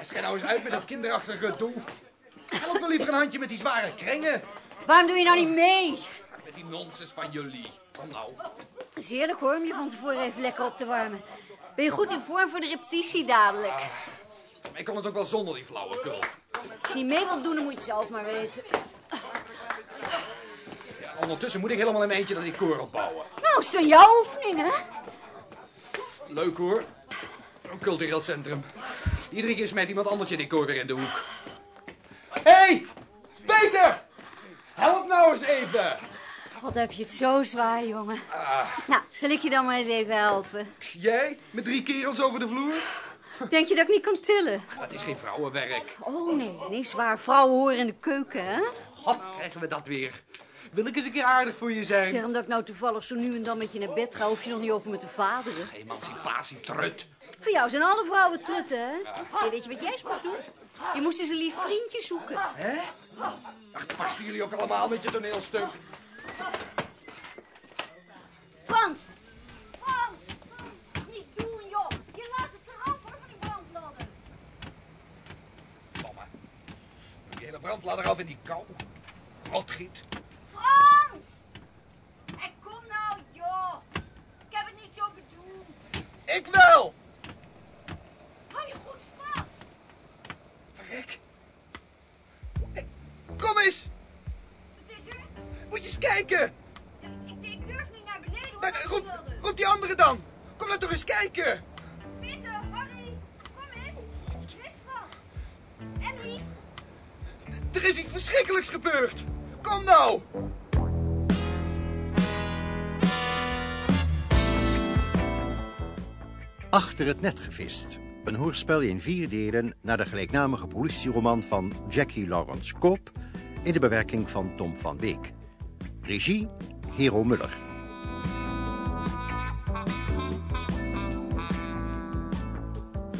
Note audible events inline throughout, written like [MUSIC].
Schijn nou eens uit met dat kinderachtige gedoe. Help me liever een handje met die zware kringen. Waarom doe je nou niet mee? Met die nonsens van jullie. Kom nou. Het is heerlijk hoor om je van tevoren even lekker op te warmen. Ben je goed in vorm voor de repetitie dadelijk? Ik kan het ook wel zonder die flauwekul. Als je niet mee wilt doen, dan moet je het zelf maar weten. Ja, ondertussen moet ik helemaal in mijn eentje dat die koor opbouwen. Nou, is het dan jouw oefening, hè? Leuk hoor. Een cultureel centrum. Iedere keer smijt iemand anders je decor weer in de hoek. Hé! Hey, Peter! Help nou eens even! Wat heb je het zo zwaar, jongen. Nou, zal ik je dan maar eens even helpen? Jij? Met drie kerels over de vloer? Denk je dat ik niet kan tillen? Dat is geen vrouwenwerk. Oh, nee, nee, zwaar. Vrouwen horen in de keuken, hè? God, krijgen we dat weer. Wil ik eens een keer aardig voor je zijn? Zeg, omdat ik nou toevallig zo nu en dan met je naar bed ga, hoef je nog niet over me te vaderen. Emancipatie, trut. Voor jou zijn alle vrouwen trutten, hè? Hey, weet je wat jij eens moet doen? Je moest eens een lief vriendje zoeken. Ach, passen jullie ook allemaal met je toneelstuk? Frans, Frans! Niet doen, joh! Je luistert eraf hoor van die brandladder. Mama, die hele brandladder af in die kou. Rotgiet. Frans! En kom nou, joh! Ik heb het niet zo bedoeld. Ik wel! Hou je goed vast. Verrek. Eh, Kom eens! Wat is er? Moet je eens kijken! Ja, Ik, ik durf niet naar beneden hoor. Nou, naar die Roep, ladder. roep die andere dan! Kom nou toch eens kijken! Peter, Harry, kom eens. Er is wat. Emmy, Er is iets verschrikkelijks gebeurd! Kom nou! Achter het net gevist. Een hoorspel in vier delen naar de gelijknamige politieroman van Jackie Lawrence Koop... in de bewerking van Tom van Beek. Regie Hero Muller.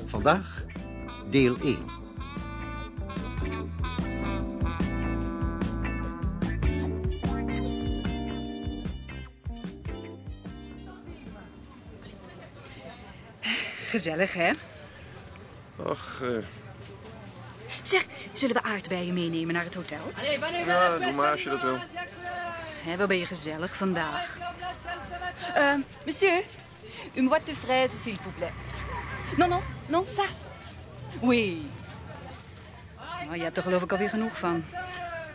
Vandaag deel 1. Gezellig, hè? Ach, eh, Zeg, zullen we aardbeien meenemen naar het hotel? ja, doe maar als je dat wil. Hè, wat ben je gezellig vandaag. Eh, monsieur, une boîte de fraises, s'il vous plaît. Non, non, non, ça. Oui. Nou, je hebt er geloof ik alweer genoeg van.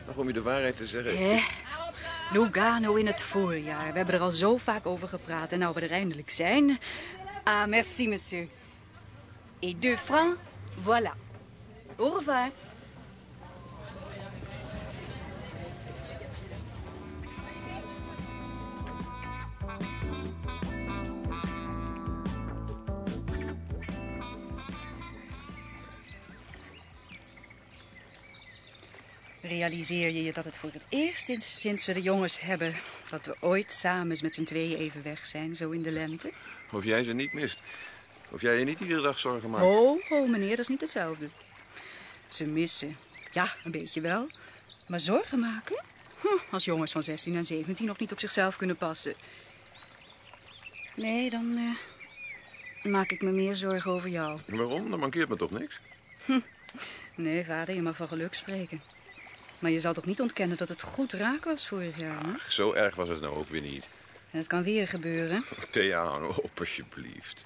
Ach, om je de waarheid te zeggen. Hè? Lugano in het voorjaar. We hebben er al zo vaak over gepraat. En nou we er eindelijk zijn... Ah, merci, monsieur. Et deux francs, voilà. Au revoir. Realiseer je je dat het voor het eerst is sinds we de jongens hebben... dat we ooit samen eens met z'n tweeën even weg zijn, zo in de lente? Of jij ze niet mist. Of jij je niet iedere dag zorgen maakt. Ho, ho, Oh, meneer, dat is niet hetzelfde. Ze missen. Ja, een beetje wel. Maar zorgen maken? Hm, als jongens van 16 en 17 nog niet op zichzelf kunnen passen. Nee, dan eh, maak ik me meer zorgen over jou. Waarom? Dan mankeert me toch niks? Nee, vader, je mag van geluk spreken. Maar je zal toch niet ontkennen dat het goed raak was vorig jaar, hè? Ach, zo erg was het nou ook weer niet. En het kan weer gebeuren. Thea, hou nou op alsjeblieft.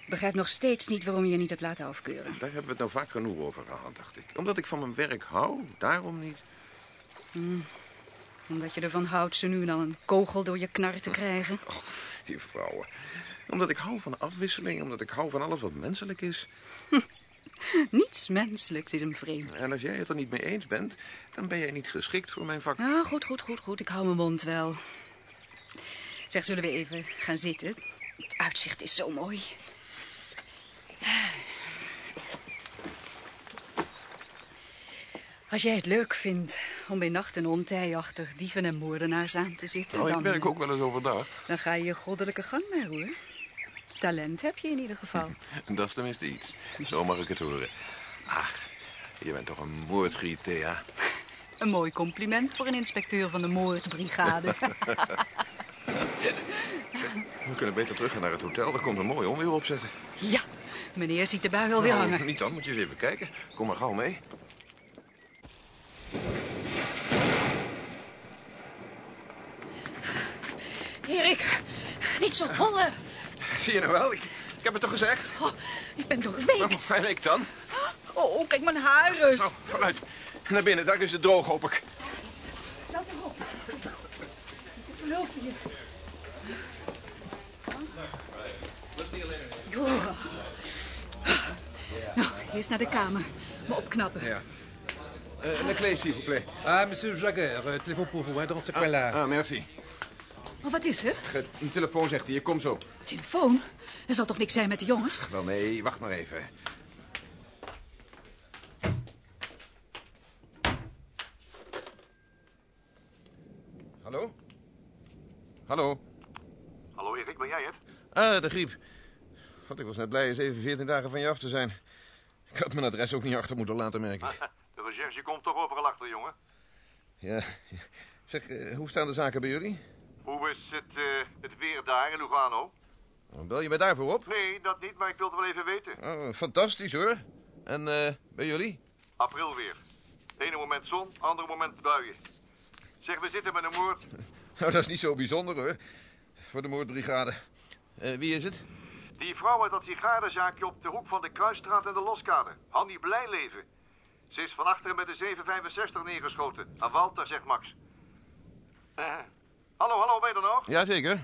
Ik begrijp nog steeds niet waarom je je niet hebt laten afkeuren. Daar hebben we het nou vaak genoeg over gehad, dacht ik. Omdat ik van mijn werk hou, daarom niet. Omdat je ervan houdt ze nu en dan een kogel door je knar te krijgen. Die vrouwen. Omdat ik hou van afwisseling, omdat ik hou van alles wat menselijk is. [LAUGHS] Niets menselijks is een vreemd. En als jij het er niet mee eens bent, dan ben jij niet geschikt voor mijn vak. Ja, Ah, goed, goed, goed, goed. Ik hou mijn mond wel. Zeg, zullen we even gaan zitten? Het uitzicht is zo mooi. Als jij het leuk vindt om bij nacht en ontij achter dieven en moordenaars aan te zitten... Nou, ik dan, werk ook wel eens overdag. dan ga je je goddelijke gang mee, hoor. Talent heb je in ieder geval. Dat is tenminste iets. Zo mag ik het horen. Ach, je bent toch een moordgriet, Thea. Een mooi compliment voor een inspecteur van de [LAUGHS] moordbrigade. We kunnen beter teruggaan naar het hotel. Daar komt een mooi onweer opzetten. Ja, Meneer ziet de bui alweer hangen. Nou, niet dan, moet je eens even kijken. Kom maar gauw mee. Erik, niet zo hollen. Zie je nou wel? Ik, ik heb het toch gezegd? Oh, ik ben Wat doorweekt. ben ik dan? Oh, oh, kijk, mijn haren. Nou, vooruit. Naar binnen, daar is het droog, hoop ik. Laat hem op. Ik geloof je. Joh. Nou, eerst naar de kamer. Me opknappen. Ja. Eh, een klees, s'il vous plaît. Ah, monsieur Jagger, euh, téléphone pour vous, hein, dans ce coin-là. Ah, merci. Maar wat is er? Eh, Een telefoon zegt hij, kom zo. Telefoon? Er zal toch niks zijn met de jongens? Wel, nee, wacht maar even. Hallo? Hallo? Hallo Erik, ben jij het? Ah, de griep. God, ik was net blij eens even 14 dagen van je af te zijn. Ik had mijn adres ook niet achter moeten laten, merk ik. [LAUGHS] De recherche komt toch overal achter, jongen. Ja. Zeg, eh, hoe staan de zaken bij jullie? Hoe is het, eh, het weer daar in Lugano? Oh, Bel je mij daarvoor op? Nee, dat niet, maar ik wilde wel even weten. Oh, fantastisch hoor. En eh, bij jullie? April weer. Het ene moment zon, het andere moment buien. Zeg, we zitten met een moord. Nou, dat is niet zo bijzonder hoor. Voor de moordbrigade. Eh, wie is het? Die vrouw uit dat sigarenzaakje op de hoek van de Kruisstraat en de Loskade. Hanny Blijleven. Ze is van achteren met een 765 neergeschoten. Aan Walter, zegt Max. Eh, hallo, hallo, ben je er nog? Jazeker.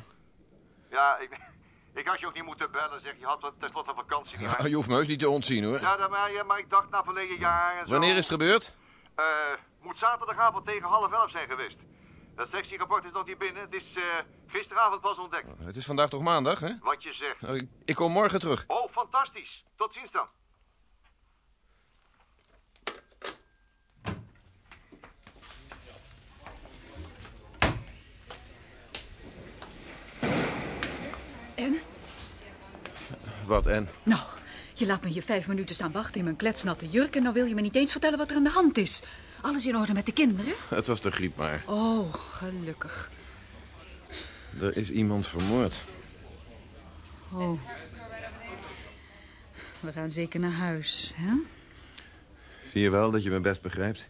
Ja, ik, [LAUGHS] ik had je ook niet moeten bellen, zeg. Je had wel tenslotte vakantie. [LAUGHS] niet Nou, je hoeft me heus niet te ontzien hoor. Ja, dat maar, ja, maar ik dacht na verleden jaar en zo. Wanneer is het gebeurd? Eh, moet zaterdagavond tegen half elf zijn geweest. Dat sectierapport is nog niet binnen. Het is eh, gisteravond pas ontdekt. Oh, Het is vandaag toch maandag, hè? Wat je zegt. Nou, ik, ik kom morgen terug. Oh, fantastisch. Tot ziens dan. En? Wat en? [LAUGHS] Nou, je laat me hier vijf minuten staan wachten in mijn kletsnatte jurk... en dan wil je me niet eens vertellen wat er aan de hand is. Alles in orde met de kinderen? Het was de griep maar. Oh, gelukkig. Er is iemand vermoord. Oh. We gaan zeker naar huis, hè? Zie je wel dat je me best begrijpt?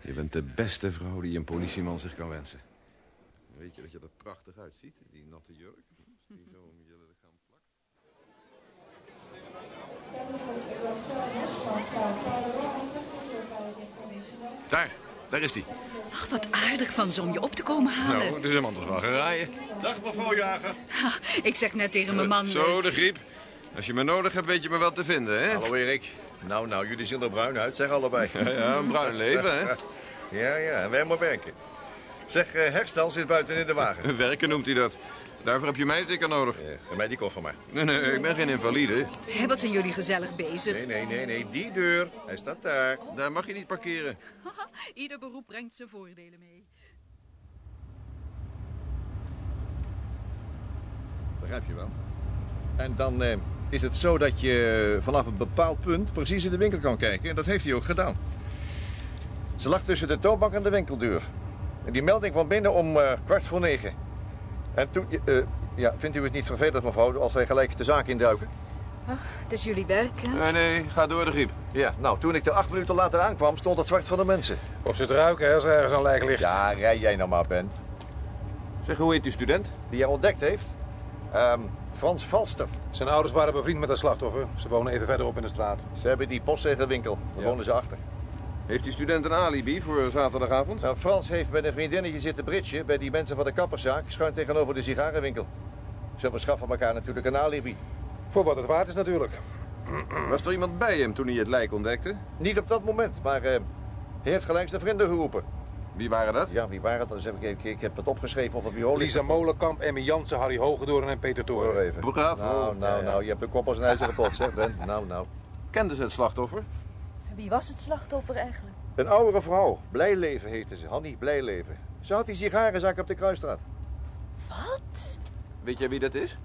Je bent de beste vrouw die een politieman zich kan wensen. Weet je dat je er prachtig uitziet, die natte jurk? Die zo om je lichaam plakt. Daar, daar is die. Ach, wat aardig van ze om je op te komen halen. Nou, er is hem anders wel geraaien. Dag, mevrouw Jager. Ha, ik zeg net tegen mijn man... Eh, Zo, de griep. Als je me nodig hebt, weet je me wel te vinden, hè? Hallo Erik. Nou, nou, jullie zien er bruin uit, zeg allebei. Ja, een bruin leven, hè? ja, ja, en wij maar werken. Zeg, eh, Herstal zit buiten in de [LAUGHS] wagen. Werken noemt hij dat. Daarvoor heb je mij zeker nodig. Ja, en mij die koffer maar. Nee, nee, ik ben geen invalide. Hé, eh, wat zijn jullie gezellig bezig. Nee, nee, nee, nee, die deur. Hij staat daar. Daar mag je niet parkeren. Ieder beroep brengt zijn voordelen mee. Begrijp je wel. En dan eh, is het zo dat je vanaf een bepaald punt precies in de winkel kan kijken. En dat heeft hij ook gedaan. Ze lag tussen de toonbank en de winkeldeur. En die melding kwam binnen om eh, kwart voor negen. En toen... eh, eh, ja, vindt u het niet vervelend, mevrouw, als wij gelijk de zaak induiken? Het is jullie werk, hè? Nee, nee, ga door de griep. Ja, nou, toen ik er acht minuten later aankwam, stond het zwart van de mensen. Of ze het ruiken, als er ergens een lijk ligt. Ja, rij jij nou maar, Ben. Zeg, hoe heet die student? Die jij ontdekt heeft? Ehm, Frans Valster. Zijn ouders waren bevriend met dat slachtoffer. Ze wonen even verderop in de straat. Ze hebben die postzegelwinkel. Daar Ja. wonen ze achter. Heeft die student een alibi voor zaterdagavond? Nou, Frans heeft met een vriendinnetje zitten britje bij die mensen van de kapperszaak, schuin tegenover de sigarenwinkel. Ze verschaffen elkaar natuurlijk een alibi. Voor wat het waard is natuurlijk. Was er iemand bij hem toen hij het lijk ontdekte? Niet op dat moment, maar eh, hij heeft gelijk zijn vrienden geroepen. Wie waren dat? Ja, wie waren het? Dus heb ik, ik, ik heb het opgeschreven op een viool. Lisa Molenkamp, Emmy Jansen, Harry Hogedoren en Peter Hoor Toren. even. Bravo. Nou, nou, nou, je hebt de kop als een ijzeren pot, [LAUGHS] zeg Ben. Nou, nou. Kenden ze het slachtoffer? Wie was het slachtoffer eigenlijk? Een oudere vrouw, Blijleven heette ze, Hanny Blijleven. Ze had die sigarenzaak op de Kruisstraat. Wat? Weet jij wie dat is?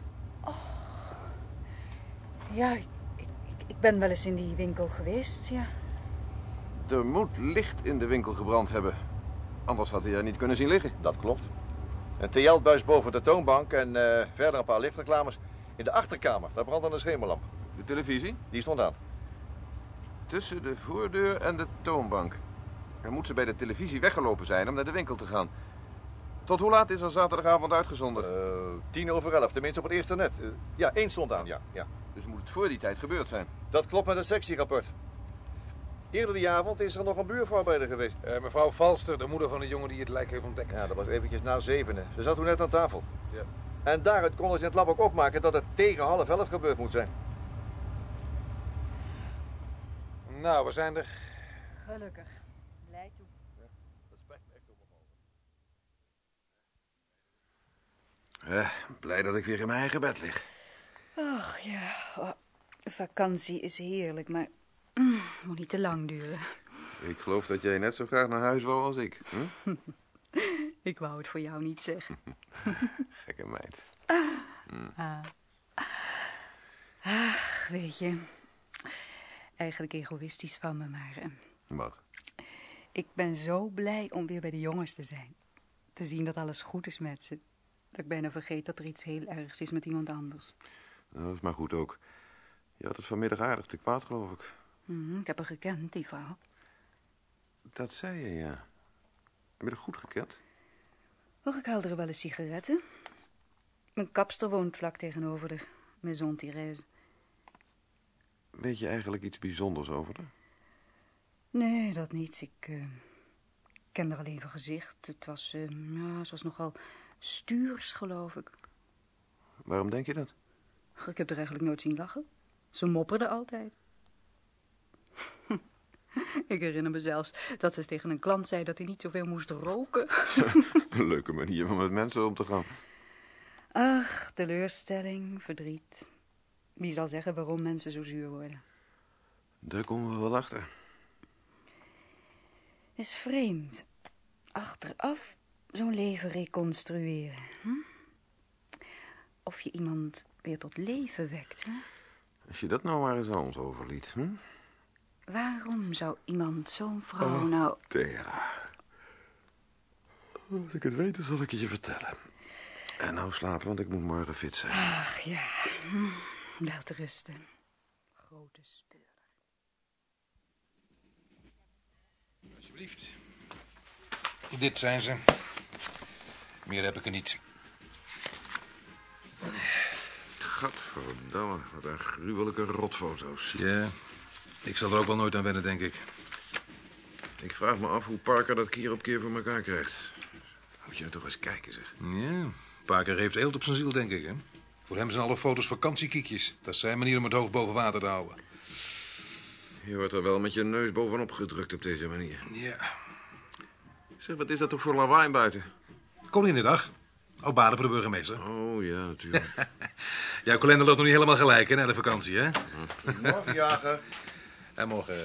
Ja, ik, ik, ik ben wel eens in die winkel geweest, ja. Er moet licht in de winkel gebrand hebben. Anders had hij er niet kunnen zien liggen. Dat klopt. Een TL-buis boven de toonbank en eh, verder een paar lichtreclames. In de achterkamer, daar brandde een schemerlamp. De televisie? Die stond aan. Tussen de voordeur en de toonbank. Dan moet ze bij de televisie weggelopen zijn om naar de winkel te gaan. Tot hoe laat is er zaterdagavond uitgezonden? Eh, tien over elf, tenminste op het eerste net. Eh, ja, één stond aan, ja, ja. Dus moet het voor die tijd gebeurd zijn. Dat klopt met het sectierapport. Eerder die avond is er nog een buurvoorbeelder geweest. Eh, mevrouw Valster, de moeder van de jongen die het lijk heeft ontdekt. Ja, dat was eventjes na zevenen. Ze zat toen net aan tafel. Ja. En daaruit konden ze in het lab ook opmaken dat het tegen half elf gebeurd moet zijn. Nou, we zijn er. Gelukkig. Blij toe. Eh, blij dat ik weer in mijn eigen bed lig. Ach ja, oh, vakantie is heerlijk, maar mm, moet niet te lang duren. Ik geloof dat jij net zo graag naar huis wou als ik. Hm? Ik wou het voor jou niet zeggen. Gekke meid. Weet je, eigenlijk egoïstisch van me, maar eh, Wat? ik ben zo blij om weer bij de jongens te zijn. Te zien dat alles goed is met ze. Dat ik bijna vergeet dat er iets heel ergs is met iemand anders. Nou, dat is maar goed ook. Je had het vanmiddag aardig te kwaad, geloof ik. Mhm, ik heb haar gekend, die vrouw. Dat zei je, ja. Heb je dat goed gekend? Och, ik haalde er wel eens sigaretten. Mijn kapster woont vlak tegenover de Maison Therese. Weet je eigenlijk iets bijzonders over haar? Nee, dat niet. Ik eh, kende haar alleen van gezicht. Het was, eh, ja, ze was nogal stuurs, geloof ik. Waarom denk je dat? Ach, Ik heb haar eigenlijk nooit zien lachen. Ze mopperde altijd. [LAUGHS] ik herinner me zelfs dat ze eens tegen een klant zei dat hij niet zoveel moest roken. [LAUGHS] Een leuke manier om met mensen om te gaan. Ach, teleurstelling, verdriet. Wie zal zeggen waarom mensen zo zuur worden? Daar komen we wel achter. Is vreemd. Achteraf zo'n leven reconstrueren. Hm? Of je iemand weer tot leven wekt. Hè? Als je dat nou maar eens aan ons overliet, hm? Waarom zou iemand zo'n vrouw nou... Oh, Thea. Als ik het weet, dan zal ik het je vertellen. En nou slapen, want ik moet morgen fit zijn. Ach ja, hm, wel te rusten. Grote speur. Alsjeblieft. Dit zijn ze. Meer heb ik er niet. Gadverdamme, wat een gruwelijke rotfoto's. Ja, ik zal er ook wel nooit aan wennen, denk ik. Ik vraag me af hoe Parker dat keer op keer voor elkaar krijgt. Moet je nou toch eens kijken, zeg. Ja, Parker heeft eelt op zijn ziel, denk ik, hè? Voor hem zijn alle foto's vakantiekiekjes. Dat is zijn manier om het hoofd boven water te houden. Je wordt er wel met je neus bovenop gedrukt op deze manier. Ja. Zeg, wat is dat toch voor lawaai buiten? Koninginnedag. Ook baden voor de burgemeester. Oh ja, [LAUGHS] natuurlijk. Jouw kalender loopt nog niet helemaal gelijk, hè, na de vakantie, hè? Morgen jagen. En morgen...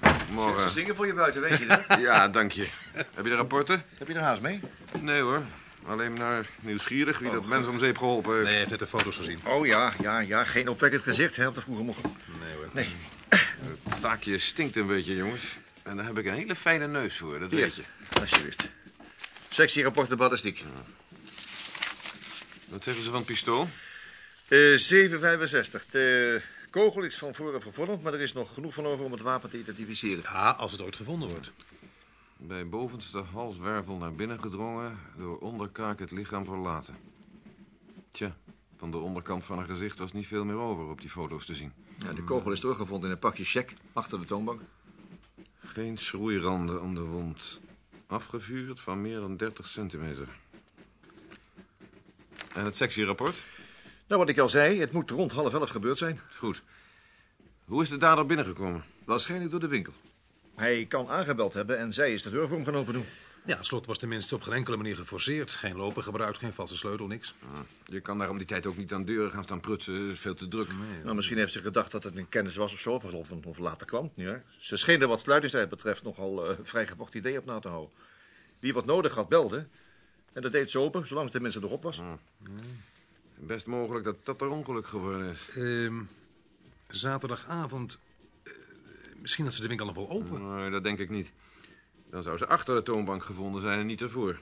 eh, Ze Morgen. zingen voor je buiten, weet je [LAUGHS] dat? Ja, dank je. Heb je de rapporten? Heb je er haast mee? Nee hoor. Alleen maar nieuwsgierig wie dat mens om zeep geholpen heeft. Nee, je hebt net de foto's gezien. Oh ja, ja, ja. Geen opwekkend gezicht, hè, op de vroege morgen. Nee hoor. Nee. Het zaakje stinkt een beetje, jongens. En daar heb ik een hele fijne neus voor, dat weet je. Alsjeblieft. Sectierapport de balistiek. Wat zeggen ze van het pistool? Eh, 765. De kogel is van voren vervormd, maar er is nog genoeg van over om het wapen te identificeren. Ja, als het ooit gevonden wordt. Bij bovenste halswervel naar binnen gedrongen, door onderkaak het lichaam verlaten. Tja, van de onderkant van haar gezicht was niet veel meer over op die foto's te zien. Ja, de kogel is teruggevonden in een pakje check achter de toonbank. Geen schroeiranden om de wond. Afgevuurd van meer dan 30 centimeter. En het sectierapport? Nou, wat ik al zei, het moet rond half elf gebeurd zijn. Goed. Hoe is de dader binnengekomen? Waarschijnlijk door de winkel. Hij kan aangebeld hebben en zij is de deur voor hem gaan open doen. Ja, het slot was tenminste op geen enkele manier geforceerd. Geen lopen gebruikt, geen valse sleutel, niks. Je kan daar om die tijd ook niet aan deuren gaan staan prutsen. Het is veel te druk. Nou, misschien heeft ze gedacht dat het een kennis was of zo, of, of, of later kwam. niet waar? Ze scheen er wat sluitingstijd betreft nogal eh vrij gevochten idee op na te houden. Wie wat nodig had, belde. En dat deed ze open, zolang ze de mensen erop was. Mm. Best mogelijk dat dat er ongeluk geworden is. Ehm, zaterdagavond... eh, misschien had ze de winkel nog wel open. Nee, dat denk ik niet. Dan zou ze achter de toonbank gevonden zijn en niet ervoor.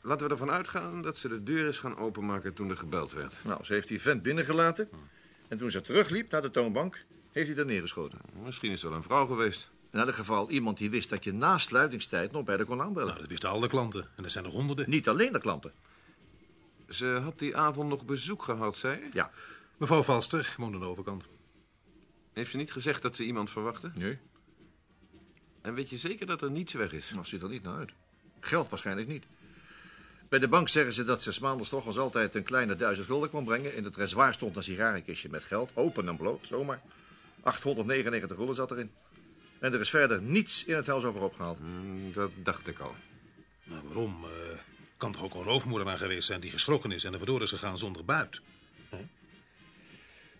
Laten we ervan uitgaan dat ze de deur is gaan openmaken toen er gebeld werd. Nou, ze heeft die vent binnengelaten. En toen ze terugliep naar de toonbank, heeft hij er neergeschoten. Misschien is het wel een vrouw geweest. In elk geval iemand die wist dat je na sluitingstijd nog bij de kon aanbellen. Nou, dat wisten al de klanten. En er zijn er honderden. Niet alleen de klanten. Ze had die avond nog bezoek gehad, zei je? Ja. Mevrouw Valster woont aan de overkant. Heeft ze niet gezegd dat ze iemand verwachtte? Nee. En weet je zeker dat er niets weg is? Nou, ziet er niet naar uit. Geld waarschijnlijk niet. Bij de bank zeggen ze dat ze 's maandags toch als altijd een kleine duizend gulden kwam brengen. In het reservoir stond een sigarenkistje met geld, open en bloot, zomaar. 899 gulden zat erin. En er is verder niets in het huis over opgehaald. Hmm. Hm, Dat dacht ik al. Nou, waarom? Eh, kan toch ook een roofmoordenaar geweest zijn die geschrokken is en er vandoor is gegaan zonder buit? Hè?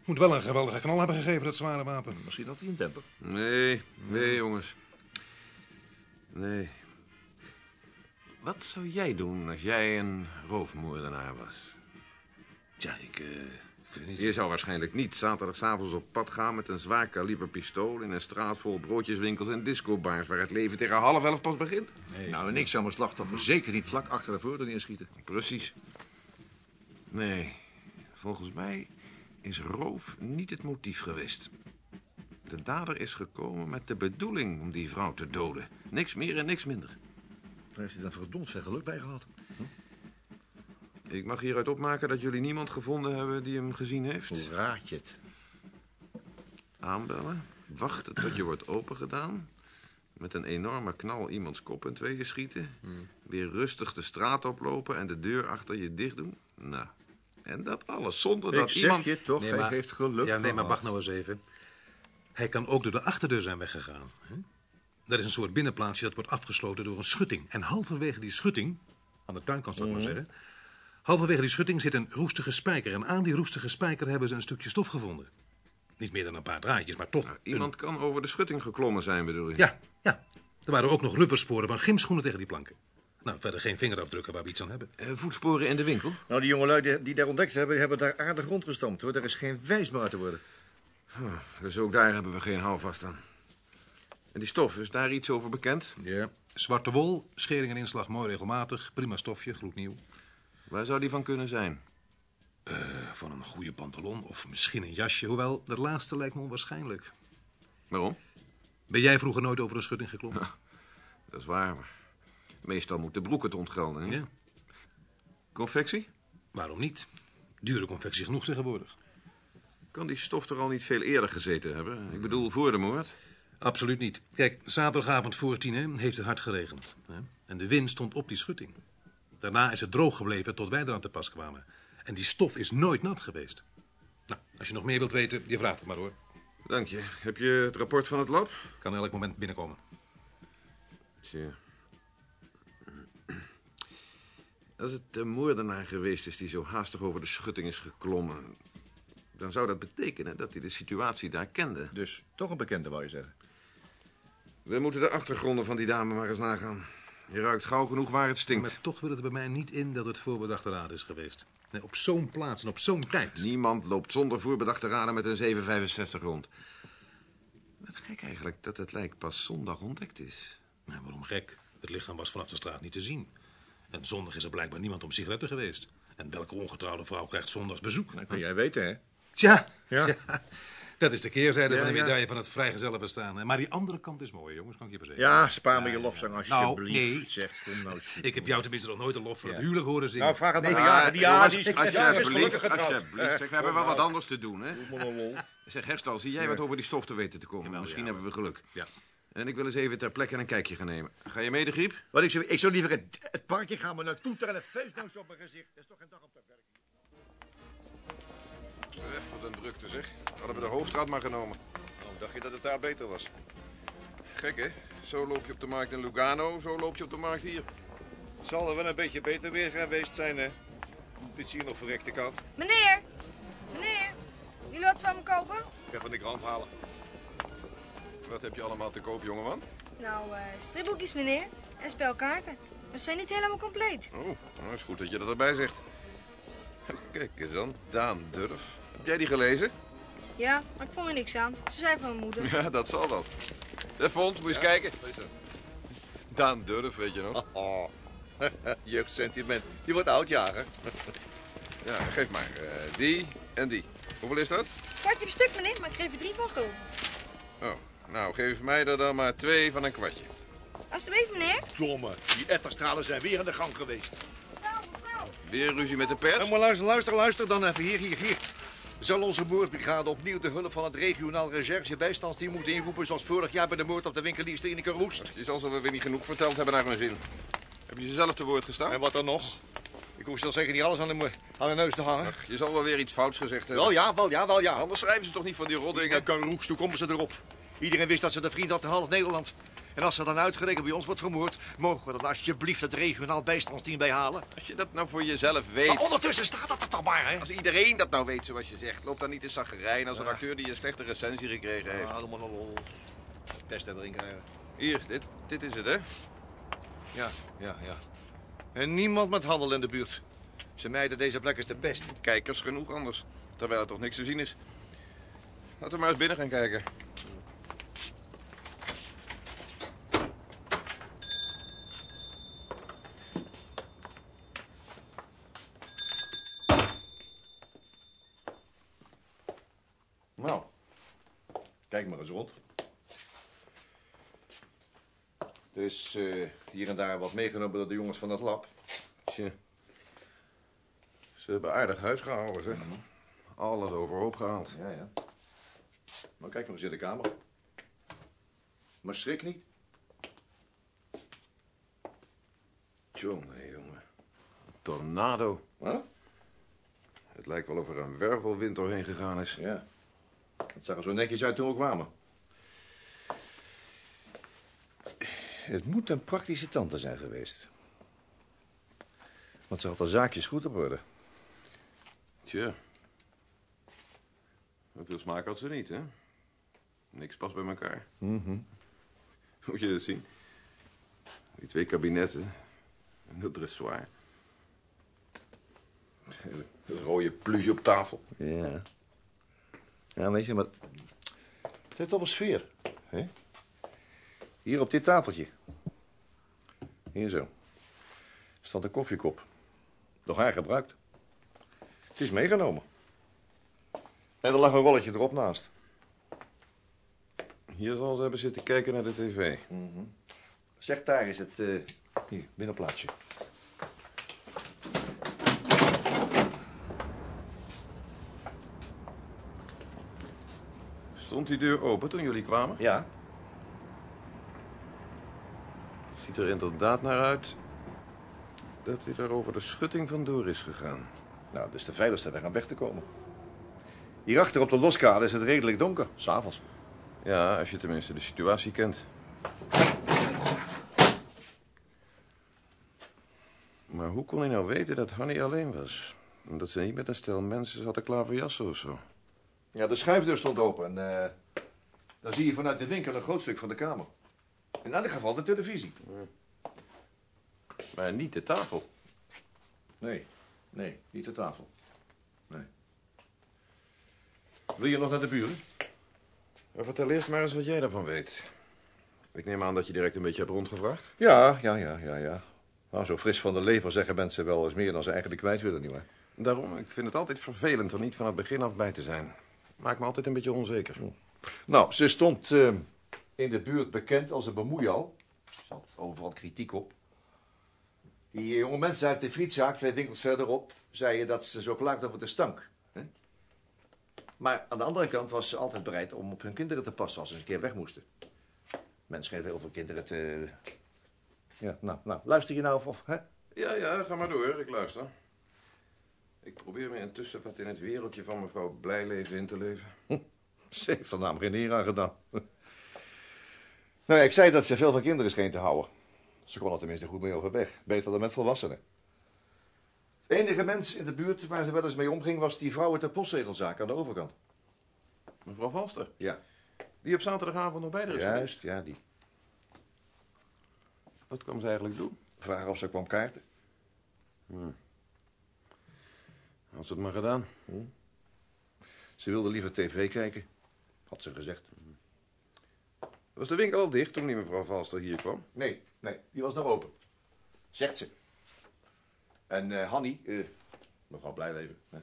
Moet wel een geweldige knal hebben gegeven, dat zware wapen. Misschien had hij een temper. Nee, nee, jongens. Nee. Wat zou jij doen als jij een roofmoordenaar was? Tja, ik, eh, ik weet niet. Je zou waarschijnlijk niet zaterdagavond op pad gaan met een zwaar kaliber pistool... in een straat vol broodjeswinkels en discobars... waar het leven tegen half elf pas begint. Nou, en ik zou mijn slachtoffer zeker niet vlak achter de voordeur neerschieten. Precies. Nee, volgens mij is roof niet het motief geweest. De dader is gekomen met de bedoeling om die vrouw te doden. Niks meer en niks minder. Daar heeft hij dan verdomd veel geluk bij gehad. Hm? Ik mag hieruit opmaken dat jullie niemand gevonden hebben die hem gezien Hoe heeft. raad je het? Aanbellen, wachten tot je wordt opengedaan. Met een enorme knal iemands kop in tweeën schieten. Hm. Weer rustig de straat oplopen en de deur achter je dicht doen. Nou, en dat alles zonder Ik dat zeg iemand... je toch, Nee, hij maar- heeft geluk Ja, nee, maar gehad. wacht nou eens even. Hij kan ook door de achterdeur zijn weggegaan. Hè? Dat is een soort binnenplaatsje dat wordt afgesloten door een schutting. En halverwege die schutting, aan de tuinkant zou ik maar zeggen... halverwege die schutting zit een roestige spijker. En aan die roestige spijker hebben ze een stukje stof gevonden. Niet meer dan een paar draadjes, maar toch. een- Iemand kan over de schutting geklommen zijn, bedoel je? Ja, ja. Er waren ook nog rubbersporen van gymschoenen tegen die planken. Nou, verder geen vingerafdrukken waar we iets aan hebben. Eh, voetsporen in de winkel? Nou, die jongelui die, die daar ontdekt hebben, die hebben daar aardig rondgestampt. Hoor. Daar is geen wijs meer uit te worden. Dus ook daar hebben we geen houvast aan. En die stof, is daar iets over bekend? Ja. Zwarte wol, schering en inslag mooi regelmatig. Prima stofje, gloednieuw. Waar zou die van kunnen zijn? Eh, van een goede pantalon of misschien een jasje. Hoewel, dat laatste lijkt me onwaarschijnlijk. Waarom? Ben jij vroeger nooit over een schutting geklommen? Dat is waar, maar meestal moet de broek het ontgelden. Hè? Ja. Confectie? Waarom niet? Dure confectie genoeg tegenwoordig. Kan die stof er al niet veel eerder gezeten hebben? Ik bedoel, voor de moord. Absoluut niet. Kijk, zaterdagavond voor tien hè, heeft het hard geregend. Hè? En de wind stond op die schutting. Daarna is het droog gebleven tot wij eraan te pas kwamen. En die stof is nooit nat geweest. Nou, als je nog meer wilt weten, je vraagt het maar hoor. Dank je. Heb je het rapport van het lab? Kan elk moment binnenkomen. Tja. Als het de moordenaar geweest is die zo haastig over de schutting is geklommen... dan zou dat betekenen dat hij de situatie daar kende. Dus toch een bekende, wou je zeggen. We moeten de achtergronden van die dame maar eens nagaan. Je ruikt gauw genoeg waar het stinkt. Maar toch wil het er bij mij niet in dat het voorbedachte raad is geweest. Nee, op zo'n plaats en op zo'n tijd. Niemand loopt zonder voorbedachte raden met een 765 rond. Wat gek eigenlijk dat het lijk pas zondag ontdekt is. Nou, waarom gek? Het lichaam was vanaf de straat niet te zien. En zondag is er blijkbaar niemand om sigaretten geweest. En welke ongetrouwde vrouw krijgt zondags bezoek? Nou, Dat kun jij weten, hè? Tja, Ja. dat is de keerzijde Ja, van de ja. medaille van het vrijgezellig bestaan. Maar die andere kant is mooi, jongens, kan ik je verzekeren. Ja, spaar me je ja. lofzang Nou, alsjeblieft. nee. Zeg, kom nou. sjoe. Ik heb jou tenminste nog nooit een lof voor het Ja. huwelijk horen zingen. Nou, vraag het maar aan Ah, Jaren. Die Jaren die jongens, is- die Jaren is gelukkig alsjeblieft, getrouwd. alsjeblieft. Zeg, we hebben wel wat anders te doen, hè? Kom nou, lol. Zeg, Herstal, zie jij wat over die stof te weten te komen? Jawel, Misschien ja. hebben we geluk. Ja. En ik wil eens even ter plekke een kijkje gaan nemen. Ga je mee, de griep? Wat ik, zou, ik zou liever het, het parkje gaan, maar naartoe terwijl een feestneus op mijn gezicht. Dat is toch geen dag op te werken. Wat een drukte, zeg. Hadden we de hoofdstraat maar genomen. Nou, dacht je dat het daar beter was? Gek, hè? Zo loop je op de markt in Lugano, zo loop je op de markt hier. Het zal er wel een beetje beter weer geweest zijn, hè? Dit zie je nog verrekte koud. Meneer, meneer, jullie wat van me kopen? Ik ga van de krant halen. Wat heb je allemaal te koop, jongeman? Nou, eh stripboekjes, meneer. En spelkaarten. Maar ze zijn niet helemaal compleet. Oh, nou is goed dat je dat erbij zegt. Kijk eens dan, Daan Durf. Heb jij die gelezen? [LAUGHS] Ja, maar ik vond er niks aan. Ze zei van mijn moeder. Ja, dat zal wel. De vond, moet je eens kijken. Daan Durf, weet je nog? [LAUGHS] Oh, jeugdsentiment. [LAUGHS] Je wordt oud, Jaren. Ja, geef maar. eh, die en die. Hoeveel is dat? Kwart op stuk, meneer, maar ik geef er drie voor gul. Oh, nou, geef mij er dan maar twee van een kwartje. Alsjeblieft, meneer. Domme, die etterstralen zijn weer aan de gang geweest. Weer ruzie met de pers? Nou, maar luister, luister, luister dan even. Hier, hier, hier. Zal onze moordbrigade opnieuw de hulp van het regionaal recherche bijstandsteam moeten inroepen... zoals vorig jaar bij de moord op de winkelier in Roest? Het is alsof we weer niet genoeg verteld hebben naar hun zin. Heb je ze zelf te woord gestaan? En wat dan nog? Ik hoef zelfs zeker niet alles aan de, mo- aan de neus te hangen. Ach, je zal wel weer iets fouts gezegd hebben. Wel ja, wel ja, wel ja. Anders schrijven ze toch niet van die En rotdingen? Karoes, toen komen ze erop. Iedereen wist dat ze de vriend had in half Nederland. En als ze dan uitgerekend bij ons wordt vermoord... mogen we dan alsjeblieft het regionaal bijstandsteam bijhalen? Als je dat nou voor jezelf Maar weet... ondertussen staat dat er toch maar, hè? Als iedereen dat nou weet, zoals je zegt, loopt dan niet de zaggerijn als een acteur die een slechte recensie gekregen heeft. Ah, allemaal een lol. Best dat eh, erin krijgen. Hier, dit, dit is het, hè? Ja, ja, ja. En niemand met handel in de buurt. Ze meiden deze plek is de pest. Kijkers genoeg anders, terwijl er toch niks te zien is. Laten we maar eens binnen gaan kijken. Nou, kijk maar eens rond. Er is eh, hier en daar wat meegenomen door de jongens van het lab. Tje. Ze hebben aardig huis gehouden, zeg. Alles overhoop gehaald. Mhm. Ja, ja. Maar kijk nog eens in de kamer. Maar schrik niet. Tjonge, jongen. Tornado. Huh? Het lijkt wel of er een wervelwind doorheen gegaan is. Ja. Dat zag er zo netjes uit toen we kwamen. Het moet een praktische tante zijn geweest. Want ze had haar zaakjes goed op orde. Tje. Veel smaak had ze niet, hè? Niks past bij elkaar. Moet je dat zien? Die twee kabinetten. En dat dressoir. En Dat rode pluche op tafel. Ja. Ja, weet je, maar... Het heeft al een sfeer. Hè? Hier op dit tafeltje. Hier zo. Stond een koffiekop. Door haar gebruikt. Het is meegenomen. En er lag een rolletje erop naast. Hier zal ze hebben zitten kijken naar de tv. Mhm. Zeg, daar is het... eh, hier, binnenplaatsje. Stond die deur open toen jullie kwamen? Ja, Het ziet er inderdaad naar uit dat hij daar over de schutting vandoor is gegaan. nou, dat is de veiligste weg om weg te komen. Hierachter op de loskade is het redelijk donker, s'avonds. Ja, als je tenminste de situatie kent. Maar hoe kon hij nou weten dat Hanny alleen was? En dat ze niet met een stel mensen zat te klaverjassen of zo? Ja, de schuifdeur stond open en eh, dan zie je vanuit de winkel een groot stuk van de kamer. In elk geval de televisie. Maar niet de tafel. Nee, nee, niet de tafel. Nee. Wil je nog naar de buren? Vertel eerst maar eens wat jij daarvan weet. Ik neem aan dat je direct een beetje hebt rondgevraagd. Ja, ja, ja, ja, ja. Nou, zo fris van de lever zeggen mensen wel eens meer dan ze eigenlijk kwijt willen, nietwaar? Daarom, ik vind het altijd vervelend er niet van het begin af bij te zijn. Maakt me altijd een beetje onzeker. Nou, ze stond eh, in de buurt bekend als een bemoeial. Ze had overal kritiek op. Die eh, jonge mensen uit de frietzaak, twee winkels verderop, zeiden dat ze zo klaagde over de stank. hè? Maar aan de andere kant was ze altijd bereid om op hun kinderen te passen als ze eens een keer weg moesten. Men schreef heel veel kinderen te... Ja, nou, nou, luister je nou of... of hè? Ja, ja, ga maar door. Ik luister. Ik probeer me intussen wat in het wereldje van mevrouw Blijleven in te leven. Ze heeft er namelijk geen eer aan gedaan. [LAUGHS] Nou ja, ik zei dat ze veel van kinderen scheen te houden. Ze kon er tenminste goed mee overweg. Beter dan met volwassenen. De enige mens in de buurt waar ze wel eens mee omging... was die vrouw uit de postzegelzaak aan de overkant. Mevrouw Valster, Ja, die op zaterdagavond nog bij de rest is. juist. Ja, die Wat kwam ze eigenlijk doen? Hmm. vraag of ze kwam kaarten. Had ze het maar gedaan. Ze wilde liever tv kijken, had ze gezegd. Was de winkel al dicht toen die mevrouw Valster hier kwam? Nee, nee, die was nog open. Zegt ze. En eh Hanny, eh, nogal blij leven. Hè?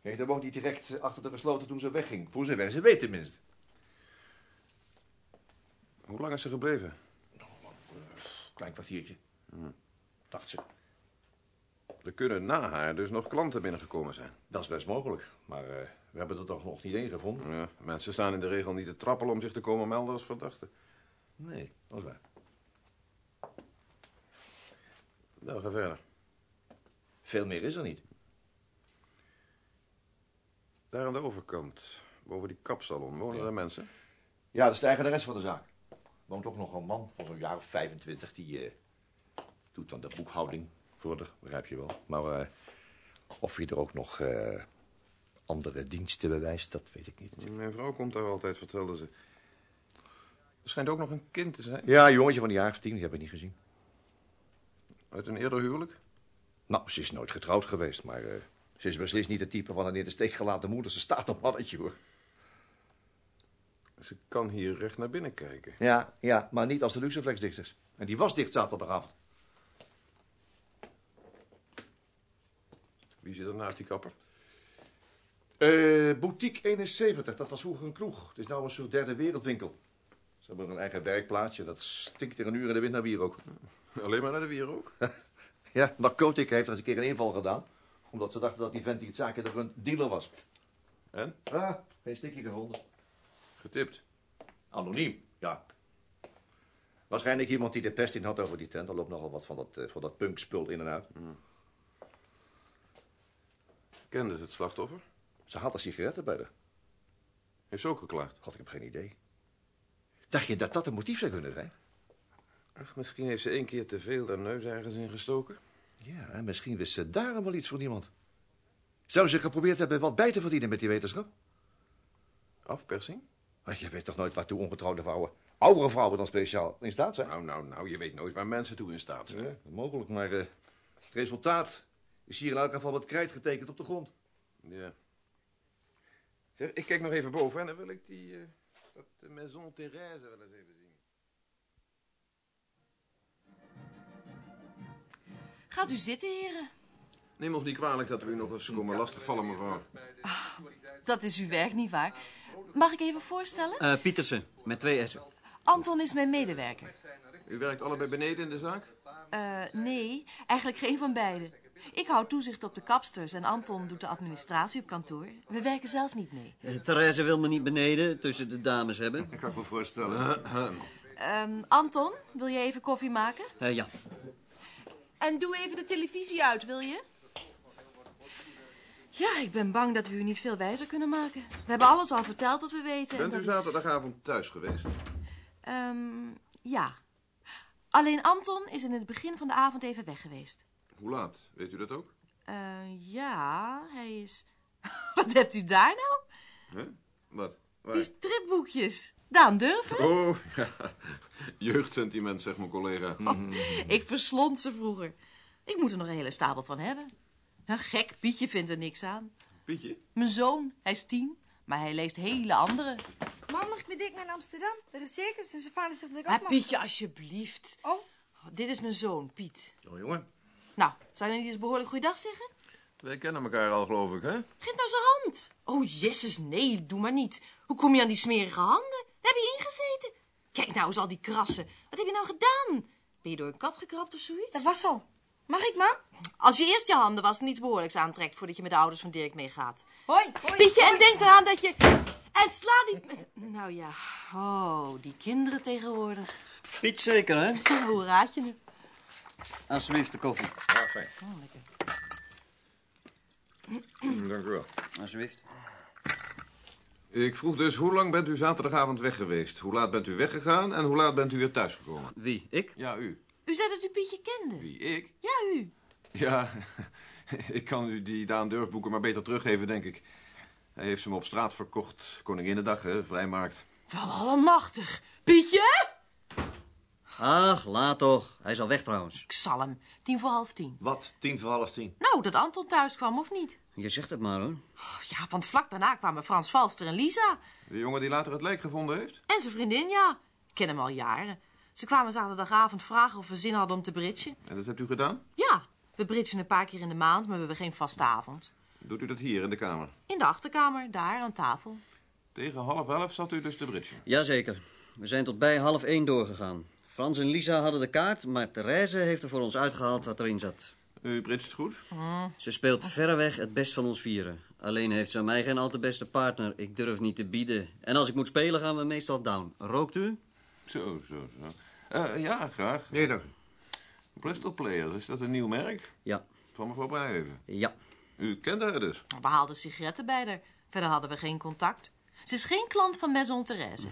Nee, daar woont niet direct achter de gesloten toen ze wegging. Voor ze weg, ze weet tenminste. Hoe lang is ze gebleven? Klein kwartiertje, dacht ze. Er kunnen na haar dus nog klanten binnengekomen zijn. Dat is best mogelijk, maar eh, we hebben er toch nog niet één gevonden. Ja, mensen staan in de regel niet te trappelen om zich te komen melden als verdachten. Nee, dat is waar. Nou, ga verder. Veel meer is er niet. Daar aan de overkant, boven die kapsalon, wonen daar mensen? Ja, dat is de eigenares van de zaak. Woont ook nog een man van zo'n jaar of 25. Die eh, doet dan de boekhouding voor de, begrijp je wel. Maar eh, of je er ook nog eh, andere diensten bewijst, dat weet ik niet. Mijn vrouw komt daar altijd, vertelde ze. Er schijnt ook nog een kind te zijn. Ja, een jongetje van een jaar of tien, die heb ik niet gezien. Uit een eerder huwelijk? Nou, ze is nooit getrouwd geweest, maar eh, ze is beslist niet het type van een in de steek gelaten moeder. Ze staat op mannetje, hoor. Ze kan hier recht naar binnen kijken. Ja, ja, maar niet als de Luxeflex-dichters. En die was dicht zaterdagavond. Wie zit er naast die kapper? Eh, Boutique 71, dat was vroeger een kroeg. Het is nou een soort derde wereldwinkel. Ze hebben een eigen werkplaatsje, dat stinkt er een uur in de wind naar bier ook. Alleen maar naar de wier ook? Ja, Narcotic heeft er eens een keer een inval gedaan. Omdat ze dachten dat die vent die het zaken er een dealer was. En? Ah, geen stikje gevonden. Getipt. Anoniem, ja. Waarschijnlijk iemand die de pest in had over die tent. Er loopt nogal wat van dat, eh, van dat punkspul in en uit. Kende ze het slachtoffer? Ze had een sigaretten bij haar. Heeft ze ook geklaagd? God, ik heb geen idee. Dacht je dat dat een motief zou kunnen zijn? Ach, misschien heeft ze één keer te veel haar neus ergens in gestoken. Ja, en misschien wist ze daarom wel iets van iemand. Zou ze geprobeerd hebben wat bij te verdienen met die wetenschap? Afpersing? Ach, je weet toch nooit waartoe ongetrouwde vrouwen, oudere vrouwen dan speciaal, in staat zijn? Nou, nou, nou, je weet nooit waar mensen toe in staat zijn. Ja, mogelijk, maar eh, het resultaat is hier in elk geval wat krijt getekend op de grond. Ja. Zeg, ik kijk nog even boven en dan wil ik die, eh, dat eh, Maison Thérèse wel eens even zien. Gaat u zitten, heren. Neem ons niet kwalijk dat we u nog eens komen lastigvallen, mevrouw. Dat is uw werk, nietwaar? Mag ik even voorstellen? Pietersen, met twee S'en. Anton is mijn medewerker. U werkt allebei beneden in de zaak? Eh, nee, eigenlijk geen van beiden. Ik hou toezicht op de kapsters en Anton doet de administratie op kantoor. We werken zelf niet mee. Eh, Therese wil me niet beneden tussen de dames hebben. Dat kan ik me voorstellen. Ehm, Anton, wil jij even koffie maken? Eh, ja, En doe even de televisie uit, wil je? Ja, ik ben bang dat we u niet veel wijzer kunnen maken. We hebben alles al verteld wat we weten. en Bent dat u is- zaterdagavond thuis geweest? Ehm, ja. Alleen Anton is in het begin van de avond even weg geweest. Hoe laat? Weet u dat ook? Eh, ja, hij is... [LAUGHS] Wat hebt u daar nou? Hè? Wat? Waar? Die stripboekjes. Daan, durven? Oh, [LAUGHS] ja. Jeugdsentiment, zegt mijn [LAUGHS] collega. Oh, Ik verslond ze vroeger. Ik moet er nog een hele stapel van hebben. Ja, gek, Pietje vindt er niks aan. Pietje? Mijn zoon, hij is tien, maar hij leest hele andere. Mam, mag ik met Dick naar Amsterdam? Er is zeker sinds zijn vader zegt dat ik ook Maar mag. Pietje, alsjeblieft. Oh, Dit is mijn zoon, Piet. Oh, jongen. Nou, zou je niet eens behoorlijk goeiedag zeggen? Wij kennen elkaar al, geloof ik, hè? Geef nou zijn hand. Oh, jezus, nee, doe maar niet. Hoe kom je aan die smerige handen? We hebben je ingezeten. Kijk nou eens al die krassen. Wat heb je nou gedaan? Ben je door een kat gekrapt of zoiets? dat was al. Mag ik, mam? Als je eerst je handen was en iets behoorlijks aantrekt voordat je met de ouders van Dirk meegaat. Hoi, hoi. Pietje, hoi. en denk eraan dat je... En sla niet met... Nou ja, oh, die kinderen tegenwoordig. Piet zeker, hè? Hoe raad je het? Alsjeblieft, de koffie. Dank u wel. Alsjeblieft. Ik vroeg dus, hoe lang bent u zaterdagavond weg geweest? Hoe laat bent u weggegaan en hoe laat bent u weer thuisgekomen? Wie, ik? Ja, u. U zei dat u Pietje kende. Wie, ik? Ja, u. Ja, [LAUGHS] ik kan u die Daan Durfboeken maar beter teruggeven, denk ik. Hij heeft ze me op straat verkocht. Koninginnedag, hè, vrijmarkt. Wel allemachtig. Pietje? Ach, laat toch. Hij is al weg trouwens. Ik zal hem. Tien voor half tien. Wat? Tien voor half tien. Nou, dat Anton thuis kwam, of niet? Je zegt het maar, hoor. Oh, ja, want vlak daarna kwamen Frans Valster en Lisa. De jongen die later het lijk gevonden heeft? En zijn vriendin, ja. Ik ken hem al jaren. Ze kwamen zaterdagavond vragen of we zin hadden om te britsen. En dat hebt u gedaan? Ja, we britsen een paar keer in de maand, maar we hebben geen vaste avond. Doet u dat hier in de kamer? In de achterkamer, daar aan tafel. Tegen half elf zat u dus te britsen. Jazeker. We zijn tot bij half één doorgegaan. Frans en Lisa hadden de kaart, maar Therese heeft er voor ons uitgehaald wat erin zat. U britst goed? Ze speelt Ah. verreweg het best van ons vieren. Alleen heeft ze aan mij geen al te beste partner. Ik durf niet te bieden. En als ik moet spelen, gaan we meestal down. Rookt u? Zo, zo, zo. Eh, ja, graag. Nee, dank u. Bristol Player, is dat een nieuw merk? Ja. Van mevrouw Blijven? Ja. U kent haar dus? We haalden sigaretten bij haar. Verder hadden we geen contact. Ze is geen klant van Maison [LAUGHS] Therese.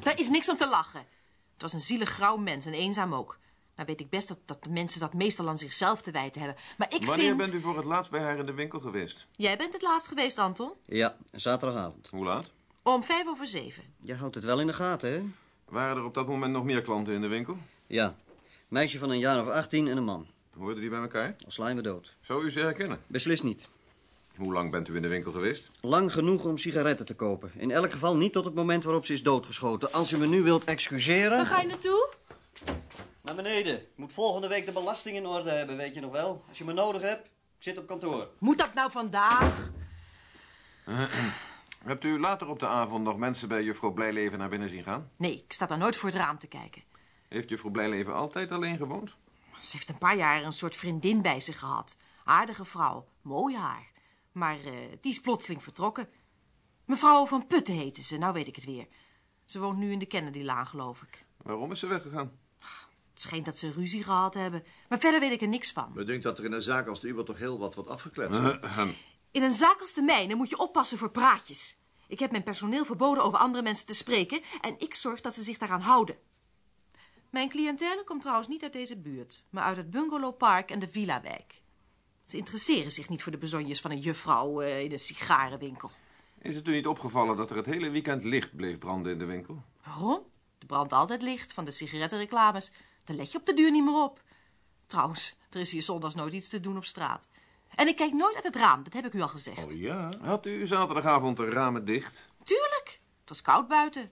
Daar is niks om te lachen. Het was een zielig grauw mens en eenzaam ook. Nou weet ik best dat, dat de mensen dat meestal aan zichzelf te wijten hebben. Maar ik Wanneer vind... bent u voor het laatst bij haar in de winkel geweest? Jij bent het laatst geweest, Anton. Ja, zaterdagavond. Hoe laat? Om vijf over zeven. Je houdt het wel in de gaten, hè? Waren er op dat moment nog meer klanten in de winkel? Ja. Meisje van een jaar of 18 en een man. Hoorden die bij elkaar? Al slaan we dood. Zou u ze herkennen? Beslist niet. Hoe lang bent u in de winkel geweest? Lang genoeg om sigaretten te kopen. In elk geval niet tot het moment waarop ze is doodgeschoten. Als u me nu wilt excuseren... Waar ga je naartoe? Naar beneden. Ik moet volgende week de belasting in orde hebben, weet je nog wel? Als je me nodig hebt, ik zit op kantoor. Moet dat nou vandaag? Hebt u later op de avond nog mensen bij juffrouw Blijleven naar binnen zien gaan? Nee, ik sta daar nooit voor het raam te kijken. Heeft juffrouw Blijleven altijd alleen gewoond? Ze heeft een paar jaar een soort vriendin bij zich gehad. Aardige vrouw, mooi haar. Maar eh, die is plotseling vertrokken. Mevrouw van Putten heette ze, nou weet ik het weer. Ze woont nu in de Kennedy-laan, geloof ik. Waarom is ze weggegaan? Het schijnt dat ze ruzie gehad hebben, maar verder weet ik er niks van. Me dunkt dat er in een zaak als de uwe toch heel wat wordt afgekletst. In een zaak als de mijne moet je oppassen voor praatjes. Ik heb mijn personeel verboden over andere mensen te spreken en ik zorg dat ze zich daaraan houden. Mijn cliëntele komt trouwens niet uit deze buurt, maar uit het bungalowpark en de villawijk. Ze interesseren zich niet voor de bezonjes van een juffrouw eh, in een sigarenwinkel. Is het u niet opgevallen dat er het hele weekend licht bleef branden in de winkel? Waarom? Er brandt altijd licht van de sigarettenreclames. Daar let je op de duur niet meer op. Trouwens, er is hier zondags nooit iets te doen op straat. En ik kijk nooit uit het raam, dat heb ik u al gezegd. ja? Had u zaterdagavond de ramen dicht? Tuurlijk, het was koud buiten.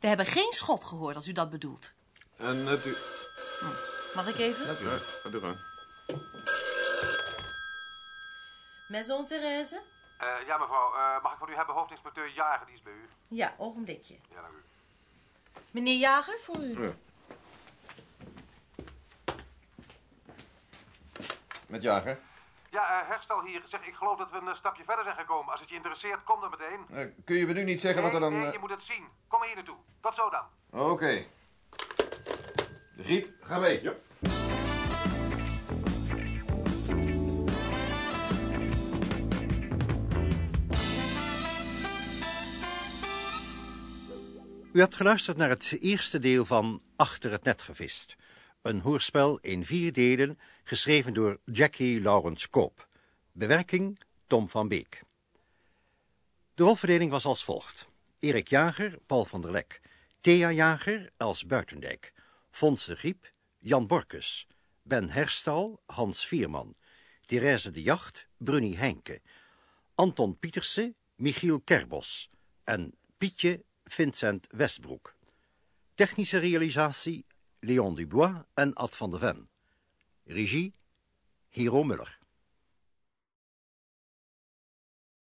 We hebben geen schot gehoord, als u dat bedoelt. En hebt u... Mag ik even? Ja, ga door gang. Maison Therese? Eh, ja, mevrouw. Eh, mag ik van u hebben hoofdinspecteur Jager, die is bij u. Ja, ogenblikje. Ja, dank u. Meneer Jager, voor u. Ja. Met jager? Ja, eh, herstel hier. Zeg, ik geloof dat we een stapje verder zijn gekomen. Als het je interesseert, kom dan meteen. Eh, kun je me nu niet zeggen wat er Nee, dan... Nee, eh, je moet het zien. Kom maar hier naartoe. Tot zo dan. Oké. De griep, ga mee. U hebt geluisterd naar het eerste deel van Achter het Net gevist. Een hoorspel in vier delen, geschreven door Jackie Lawrence Koop. Bewerking Tom van Beek. De rolverdeling was als volgt. Erik Jager, Paul van der Lek. Thea Jager, Els Buitendijk. Fons de Griep, Jan Borkus. Ben Herstal, Hans Vierman. Therese de Jacht, Brunny Henke. Anton Pieterse, Michiel Kerbos en Pietje Vincent Westbroek. Technische realisatie Leon Dubois en Ad van der Ven. Regie Hero Muller.